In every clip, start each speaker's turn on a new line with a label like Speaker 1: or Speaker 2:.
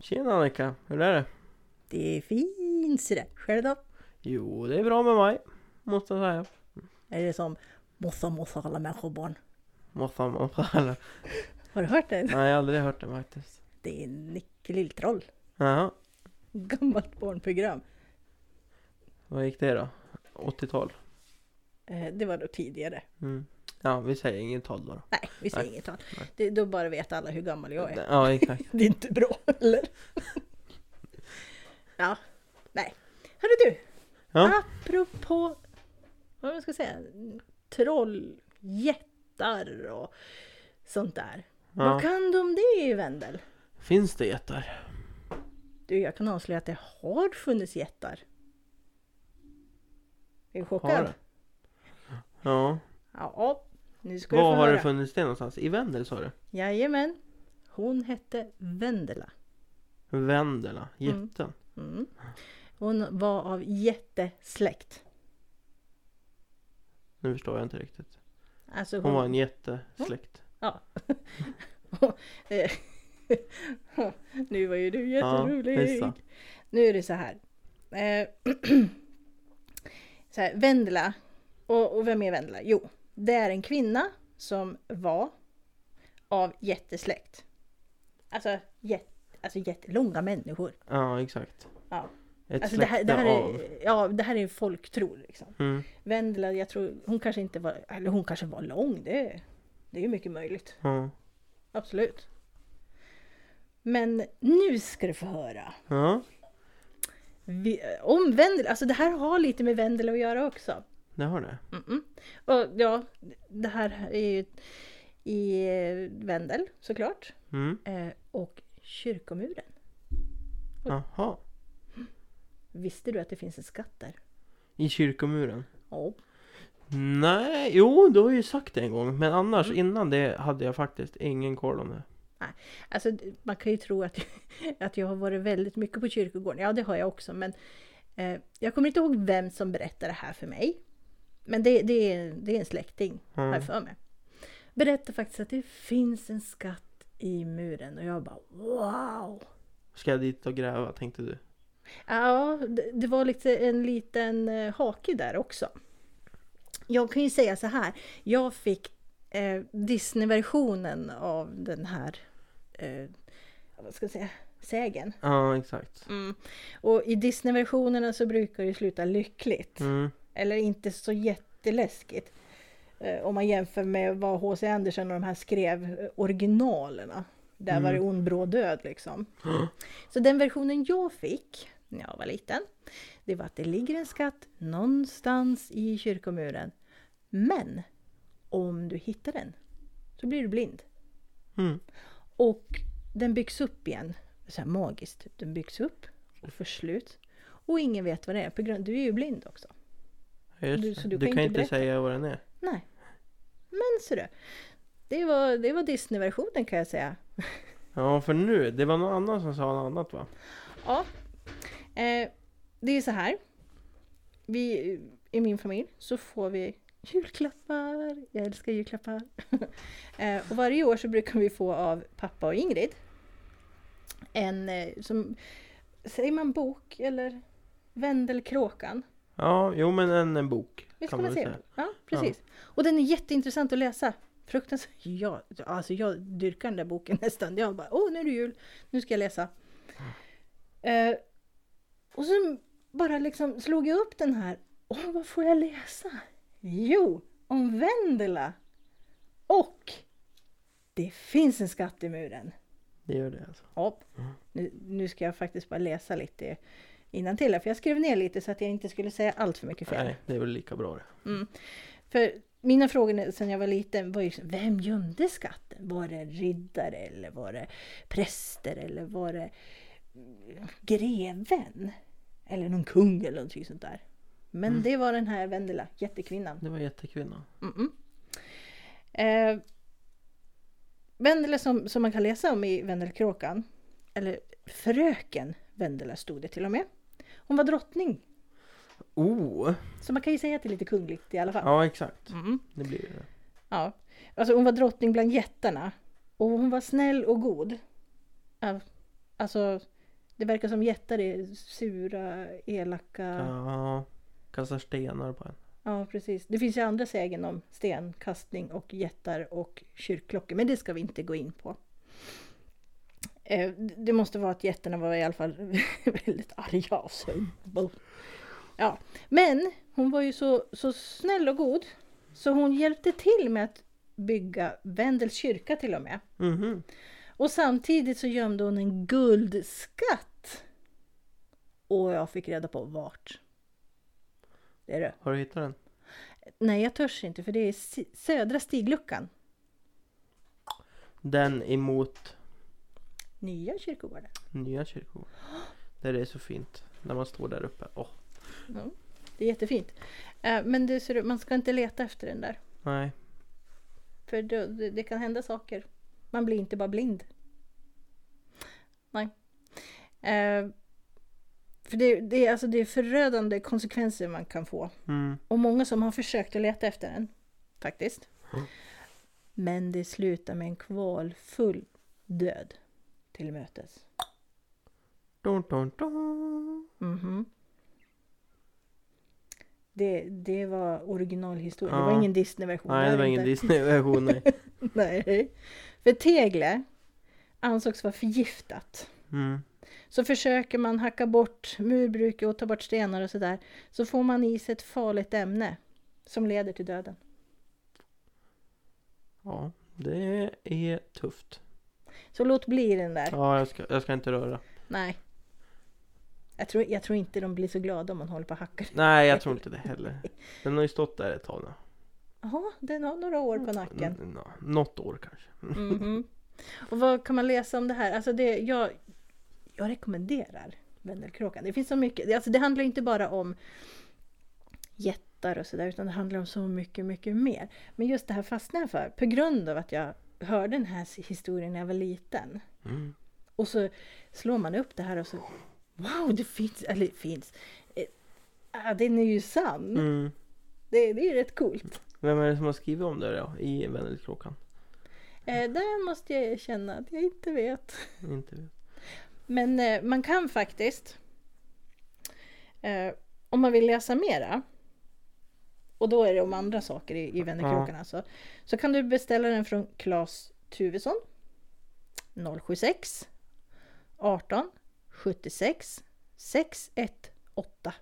Speaker 1: Tjena Annika, hur är det?
Speaker 2: Det är fint sådär. Själv då?
Speaker 1: Jo, det är bra med mig, måste jag säga.
Speaker 2: Är det som mossa mossa alla människor och barn?
Speaker 1: Måste man alla.
Speaker 2: Har du hört den?
Speaker 1: Nej, jag har aldrig hört det faktiskt.
Speaker 2: Det är Nicke Lilltroll.
Speaker 1: Jaha,
Speaker 2: Gammalt barnprogram.
Speaker 1: vad gick det då? 80-tal?
Speaker 2: Eh, Det var då tidigare.
Speaker 1: Mm. Ja, vi säger inget tal då. då.
Speaker 2: Nej, vi säger
Speaker 1: Nej.
Speaker 2: inget tal.
Speaker 1: Nej.
Speaker 2: Det- Då bara vet alla hur gammal jag är.
Speaker 1: Ja, exakt.
Speaker 2: Det är inte bra, eller? ja, nej. Hörru du!
Speaker 1: Ja.
Speaker 2: Apropå, vad ska jag säga, trolljättar och sånt där. Vad
Speaker 1: ja.
Speaker 2: kan du om det, Wendel?
Speaker 1: Finns det getter?
Speaker 2: Du, jag kan avslöja att det har funnits jättar. Är du
Speaker 1: Har
Speaker 2: chockad?
Speaker 1: det? Ja.
Speaker 2: Ja, nu ska du
Speaker 1: Var
Speaker 2: få
Speaker 1: har
Speaker 2: höra.
Speaker 1: det funnits det någonstans? I Vendel sa du?
Speaker 2: Jajamän. Hon hette Vendela.
Speaker 1: Vendela,
Speaker 2: Mm.
Speaker 1: jätten.
Speaker 2: Mm. Hon var av jättesläkt.
Speaker 1: Nu förstår jag inte riktigt.
Speaker 2: Alltså hon,
Speaker 1: Hon var en jättesläkt.
Speaker 2: Nu var ju du
Speaker 1: Ja,
Speaker 2: jätterolig.
Speaker 1: visst.
Speaker 2: nu är det så här. Eh, så här Vendela. Och, och vem är Vendela? Jo, det är en kvinna som var av jättesläkt. Alltså, jätt, alltså jättelånga människor.
Speaker 1: Ja, exakt.
Speaker 2: Mm. Ja.
Speaker 1: Ett
Speaker 2: Alltså det
Speaker 1: släkte
Speaker 2: här, det här
Speaker 1: av.
Speaker 2: är, ja, det här är folktro liksom.
Speaker 1: Mm.
Speaker 2: Vendela, jag tror hon kanske inte var, eller hon kanske var lång, det, det är ju mycket möjligt.
Speaker 1: Ja.
Speaker 2: Absolut. Men nu ska du få höra.
Speaker 1: ja,
Speaker 2: Vi, om Vendela, alltså det här har lite med Vendela att göra också.
Speaker 1: det har det.
Speaker 2: Mm-mm. Och ja, det här är ju i eh, Vendel såklart.
Speaker 1: Mm.
Speaker 2: Eh, och kyrkomuren.
Speaker 1: Jaha.
Speaker 2: Visste du att det finns en skatt där?
Speaker 1: I kyrkomuren.
Speaker 2: Ja.
Speaker 1: Nej, jo du har ju sagt det en gång. Men annars innan det hade jag faktiskt ingen koll om det.
Speaker 2: Alltså, man kan ju tro att, att jag har varit väldigt mycket på kyrkogården. Ja, det har jag också. Men eh, jag kommer inte ihåg vem som berättade det här för mig. Men det, det, är, det är en släkting, har
Speaker 1: Mm.
Speaker 2: jag för mig. Berättade faktiskt att det finns en skatt i muren och jag bara wow!
Speaker 1: Ska jag dit och gräva tänkte du?
Speaker 2: Ja, det, det var lite en liten eh, hake där också. Jag kan ju säga så här. Jag fick eh, Disney-versionen av den här eh, vad ska jag säga, sägen.
Speaker 1: Ja, exakt.
Speaker 2: Mm. Och i Disney-versionerna så brukar det sluta lyckligt.
Speaker 1: Mm.
Speaker 2: Eller inte så jätteläskigt. Eh, Om man jämför med vad H.C. Andersen och de här skrev eh, originalerna. Där var det ond bråd död liksom. Så den versionen jag fick när jag var liten. Det var att det ligger en skatt någonstans i kyrkomuren. Men om du hittar den så blir du blind.
Speaker 1: Mm.
Speaker 2: Och den byggs upp igen. Så här magiskt. Den byggs upp och får slut. Och ingen vet vad det är. På grund, du är ju blind också.
Speaker 1: Ja, Just.
Speaker 2: Du-
Speaker 1: Du,
Speaker 2: så
Speaker 1: du, kan, inte
Speaker 2: berätta.
Speaker 1: säga vad den är.
Speaker 2: Nej. Men ser du. Det var, det var Disney-versionen kan jag säga.
Speaker 1: Ja, för nu. Det var någon annan som sa något annat va?
Speaker 2: Ja. Eh, det är så här. Vi, I min familj så får vi julklappar. Jag älskar julklappar. eh, och varje år så brukar vi få av pappa och Ingrid en, eh, som, säger man bok eller vändelkråkan?
Speaker 1: Ja, jo men en, en bok.
Speaker 2: Visst
Speaker 1: kan man väl säga.
Speaker 2: Ja, precis. Och den är jätteintressant att läsa. Fruktansvärt. Ja, alltså jag dyrkar den där boken nästan. Jag bara, åh nu är det jul, nu ska jag läsa. Eh, och så bara liksom slog jag upp den här. Åh, vad får jag läsa? Jo, om Vendela. Och det finns en skatt i muren.
Speaker 1: Det gör det alltså.
Speaker 2: Ja, nu, nu ska jag faktiskt bara läsa lite innan till för jag skrev ner lite så att jag inte skulle säga allt för mycket fel.
Speaker 1: Nej, det är väl lika bra det.
Speaker 2: För mina frågor när- sen jag var liten var ju liksom, vem gömde skatten? Var det en riddare eller var det präster eller var det mm, greven? Eller någon kung eller någonting sånt där. Men det var den här Vendela, jättekvinnan.
Speaker 1: Det var jättekvinnan.
Speaker 2: Mm-mm. Eh, Vendela som, som man kan läsa om i Vendelkråkan, eller Fröken Vendela stod det till och med. Hon var drottning,
Speaker 1: Oh!
Speaker 2: så man kan ju säga att det är lite kungligt i alla fall.
Speaker 1: Ja, exakt.
Speaker 2: Mm.
Speaker 1: Det blir det.
Speaker 2: Ja. Alltså hon var drottning bland jättarna. Och hon var snäll och god. Ja, Alltså Det verkar som jättar är sura, elaka. Ja.
Speaker 1: Ja, kastar stenar på en.
Speaker 2: precis. Det finns ju andra sägen om stenkastning och jättar och kyrkklockor. Men det ska vi inte gå in på. Eh, d- Det måste vara att jättarna var i alla fall väldigt arga av sig. Bo. Ja. Men hon var ju så, så snäll och god. Så hon hjälpte till med att bygga Vendels kyrka till och med.
Speaker 1: Mhm.
Speaker 2: Och samtidigt så gömde hon en guldskatt. Och jag fick reda på vart. Det är det.
Speaker 1: Har du hittat den?
Speaker 2: Nej, jag törs inte för det är si- södra stigluckan.
Speaker 1: Den emot
Speaker 2: Nya kyrkogården.
Speaker 1: Nya kyrkogården. Där det är så fint. När man står där uppe. Åh,
Speaker 2: Ja, det är jättefint. Eh, Men det ser ut, man ska inte leta efter den där.
Speaker 1: nej.
Speaker 2: För det, det, det kan hända saker. Man blir inte bara blind. Nej. Eh, För det, det, är, alltså, det är förödande konsekvenser man kan få.
Speaker 1: Mm.
Speaker 2: Och många som har försökt att leta efter den. Faktiskt.
Speaker 1: Mm.
Speaker 2: Men det slutar med en kvalfull död till mötes.
Speaker 1: Dun, dun, dun. Mm-hmm.
Speaker 2: Mhm. Det, det var originalhistorien. Det
Speaker 1: Ja.
Speaker 2: var ingen Disney-version.
Speaker 1: Nej, det var ingen
Speaker 2: inte.
Speaker 1: Disney-version. nej.
Speaker 2: Nej. För tegle ansågs vara förgiftat.
Speaker 1: Mm.
Speaker 2: Så försöker man hacka bort murbruket och ta bort stenar och sådär. Så får man i sig ett farligt ämne som leder till döden.
Speaker 1: Ja, det är tufft.
Speaker 2: Så låt bli den där.
Speaker 1: Ja, jag ska, jag ska inte röra.
Speaker 2: Nej. Jag tror, jag tror inte de blir så glada om man håller på och hackar.
Speaker 1: Nej, jag tror inte det heller. Den har ju stått där ett tag nu.
Speaker 2: Jaha, den har några år på nacken.
Speaker 1: N- nå- Något år kanske.
Speaker 2: Mhm. Och vad kan man läsa om det här? Alltså det, jag, jag rekommenderar Vendelkråkan. Det finns så mycket. Alltså det handlar ju inte bara om jättar och sådär utan det handlar om så mycket, mycket mer. Men just det här fastnade jag för på grund av att jag hörde den här historien när jag var liten.
Speaker 1: Mm.
Speaker 2: Och så slår man upp det här och så Wow, det finns, eller finns. Eh, ah, den är ju sann.
Speaker 1: Mm.
Speaker 2: Det, det är rätt coolt.
Speaker 1: Vem är det som har skrivit om det då? I Vändelkråkan?
Speaker 2: Eh, där måste jag erkänna att jag inte vet.
Speaker 1: Inte vet.
Speaker 2: Men eh, man kan faktiskt, eh, om man vill läsa mera, och då är det om andra saker i, i Vänerkråkan alltså, så kan du beställa den från Claes Tuvesson 076 18 76 618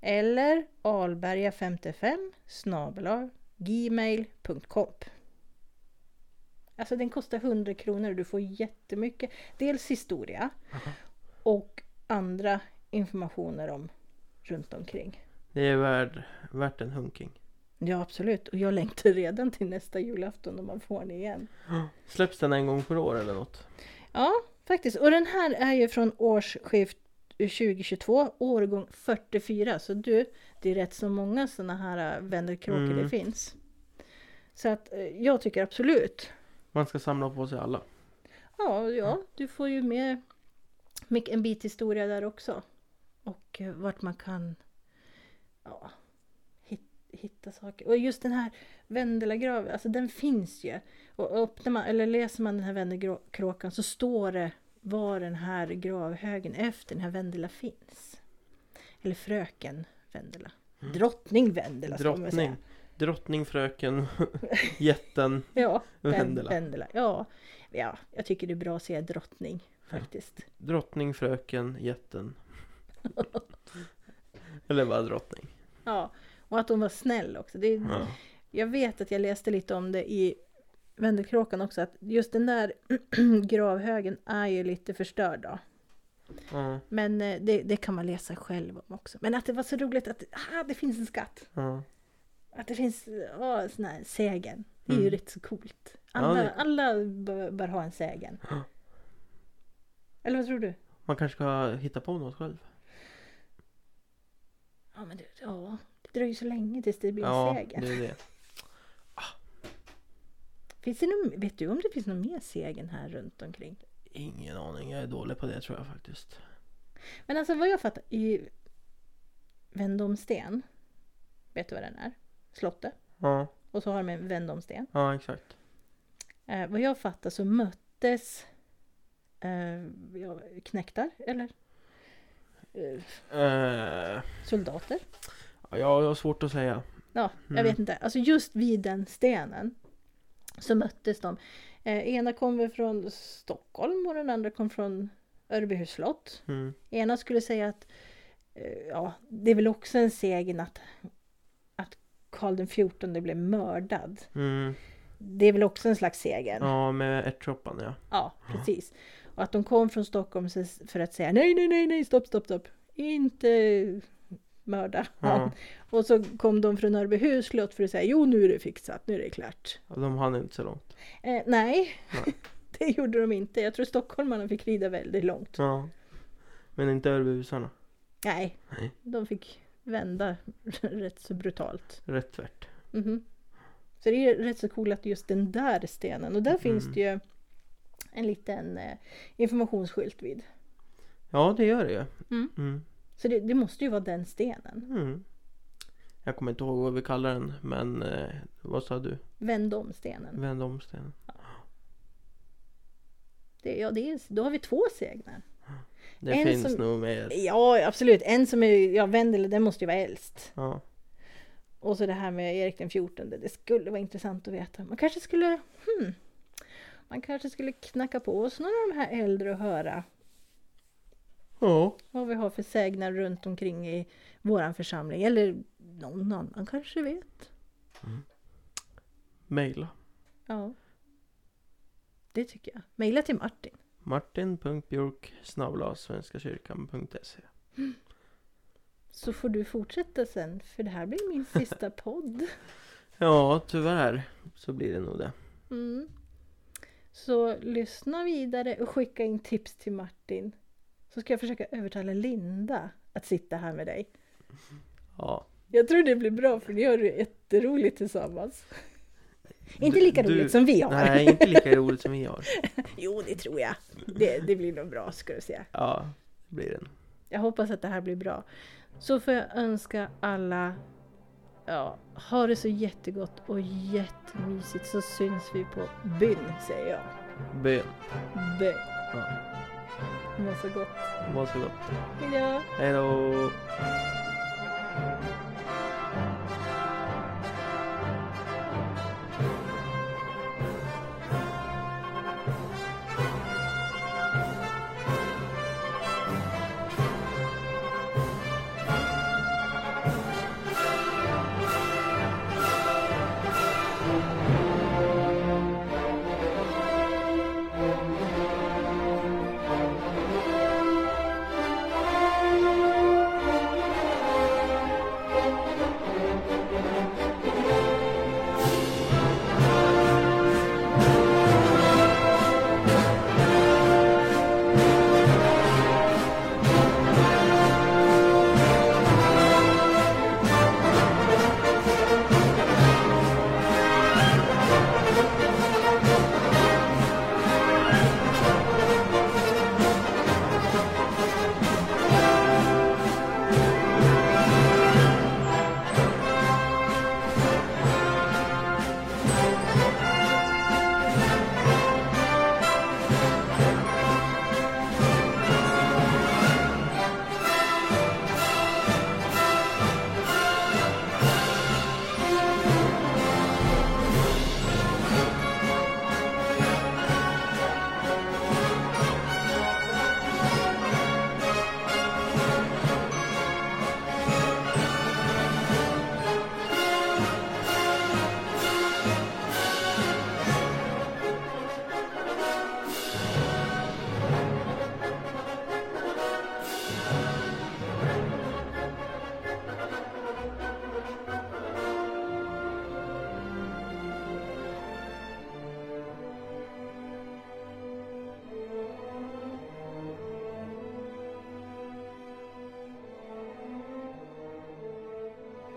Speaker 2: eller alberga55 snabel gmail.com Alltså den kostar 100 kronor och du får jättemycket. Dels historia och andra informationer om runt omkring.
Speaker 1: Det är värd, värt en hunking.
Speaker 2: Ja absolut, och jag längtar redan till nästa julafton när man får den igen.
Speaker 1: Släpps den en gång per år eller något?
Speaker 2: Ja, faktiskt. Och den här är ju från årsskift 2022, årgång 44. Så du, det är rätt så många sådana här äh, vänderkråkor det
Speaker 1: Mm.
Speaker 2: finns. Så att eh, jag tycker absolut.
Speaker 1: Man ska samla på sig alla.
Speaker 2: Ja, ja du får ju med mycket- en bit historia där också. Och eh, vart man kan ja, hit, hitta saker. Och just den här Vendelagraven, alltså den finns ju. Och öppnar man, eller läser man den här Vendelkråkan så står det var den här gravhögen efter den här Vendela finns. Eller fröken Vendela. Drottning Vendela ska man
Speaker 1: Mm. Drottning.
Speaker 2: säga.
Speaker 1: Drottning, fröken, jätten.
Speaker 2: Ja, Vendela.
Speaker 1: Vendela.
Speaker 2: Vendela. Ja, ja, jag tycker det är bra att säga drottning faktiskt.
Speaker 1: Drottning, fröken, jätten. Eller bara drottning.
Speaker 2: Ja, och att hon var snäll också. Det,
Speaker 1: Ja.
Speaker 2: Jag vet att jag läste lite om det i Vänderkråkan också, att just den där gravhögen är ju lite förstörd då.
Speaker 1: Ja,
Speaker 2: Men eh, det, det kan man läsa själv om också. Men att det var så roligt att ah, det finns en skatt!
Speaker 1: ja.
Speaker 2: Att det finns ah, sån här sägen. Det är ju
Speaker 1: Mm.
Speaker 2: rätt så coolt.
Speaker 1: Ja,
Speaker 2: Alla,
Speaker 1: det-
Speaker 2: alla bör, bör ha en sägen.
Speaker 1: Ja.
Speaker 2: Eller vad tror du?
Speaker 1: Man kanske ska hitta på något själv.
Speaker 2: Ja, men det, ja, det dröjer så länge tills det blir en
Speaker 1: Ja,
Speaker 2: sägen.
Speaker 1: det är det.
Speaker 2: Finns det någon, vet du om det finns någon mer sägen här runt omkring?
Speaker 1: Ingen aning, jag är dålig på det tror jag faktiskt.
Speaker 2: Men alltså vad jag fattar, i Vendomsten, vet du vad den är? Slottet.
Speaker 1: Ja,
Speaker 2: Och så har de en Vendomsten.
Speaker 1: ja exakt.
Speaker 2: Eh, vad jag fattar så möttes eh, ja, knektar eller eh,
Speaker 1: Eh,
Speaker 2: soldater.
Speaker 1: ja, jag har svårt att säga.
Speaker 2: Ja, jag
Speaker 1: Mm.
Speaker 2: vet inte. Alltså just vid den stenen så möttes de. Eh, ena kom väl från Stockholm och den andra kom från Örbyhus slott.
Speaker 1: Mm.
Speaker 2: Ena skulle säga att eh, ja, det är väl också en seger att, att Karl den XIV blev mördad.
Speaker 1: Mm.
Speaker 2: Det är väl också en slags seger.
Speaker 1: Ja, med ärtsoppan ja.
Speaker 2: Ja, precis. Och att de kom från Stockholm så- för att säga nej, nej, nej, nej, stopp, stopp, stopp. Inte mörda han.
Speaker 1: Ja.
Speaker 2: Och så kom de från Örbyhus slott för att säga jo, nu är det fixat, nu är det klart.
Speaker 1: Ja, De hann inte så långt.
Speaker 2: Eh, nej,
Speaker 1: Nej.
Speaker 2: det gjorde de inte. Jag tror stockholmarna fick rida väldigt långt.
Speaker 1: Ja. Men inte Örbyhusarna.
Speaker 2: Nej,
Speaker 1: Nej.
Speaker 2: de fick vända rätt så brutalt.
Speaker 1: Rätt tvärt.
Speaker 2: Mhm. Så det är rätt så coolt att just den där stenen, och där finns det ju en liten eh, informationsskylt vid.
Speaker 1: Ja, det gör det ju.
Speaker 2: Mm.
Speaker 1: Mm.
Speaker 2: Så det, det måste ju vara den stenen.
Speaker 1: Mm. Jag kommer inte ihåg vad vi kallar den, men eh, vad sa du?
Speaker 2: Vänd om stenen.
Speaker 1: Vänd om stenen.
Speaker 2: Det, ja, det är, då har vi två segnar.
Speaker 1: Det
Speaker 2: En
Speaker 1: finns
Speaker 2: som-
Speaker 1: nog mer.
Speaker 2: Ja, absolut. En som är, ja, Wendel, den måste ju vara äldst.
Speaker 1: Ja.
Speaker 2: Och så det här med Erik den fjortonde. Det skulle vara intressant att veta. Man kanske skulle, hmm, man kanske skulle knacka på oss några av de här äldre och höra
Speaker 1: Ja.
Speaker 2: vad vi har för sägner runt omkring i våran församling. Eller någon annan kanske vet.
Speaker 1: Mejla.
Speaker 2: Ja. Det tycker jag. Mejla till Martin.
Speaker 1: Martin.björk svenskakyrkan.se
Speaker 2: Så får du fortsätta sen. För det här blir min sista podd.
Speaker 1: Ja, tyvärr så blir det nog det.
Speaker 2: Mm. Så lyssna vidare och skicka in tips till Martin. Så ska jag försöka övertala Linda att sitta här med dig.
Speaker 1: Ja.
Speaker 2: Jag tror det blir bra för ni gör det jätteroligt tillsammans. Inte lika
Speaker 1: du-
Speaker 2: roligt som vi har.
Speaker 1: Nej, inte lika roligt som vi har.
Speaker 2: Jo, det tror jag. Det, det blir nog bra ska du se.
Speaker 1: Ja, det blir det.
Speaker 2: Jag hoppas att det här blir bra. Så får jag önska alla ja, ha det så jättegott och jättemysigt så syns vi på byn säger jag.
Speaker 1: Bön.
Speaker 2: Byn.
Speaker 1: Ja,
Speaker 2: Må så gott.
Speaker 1: var så gott.
Speaker 2: Hejdå!
Speaker 1: Hej då.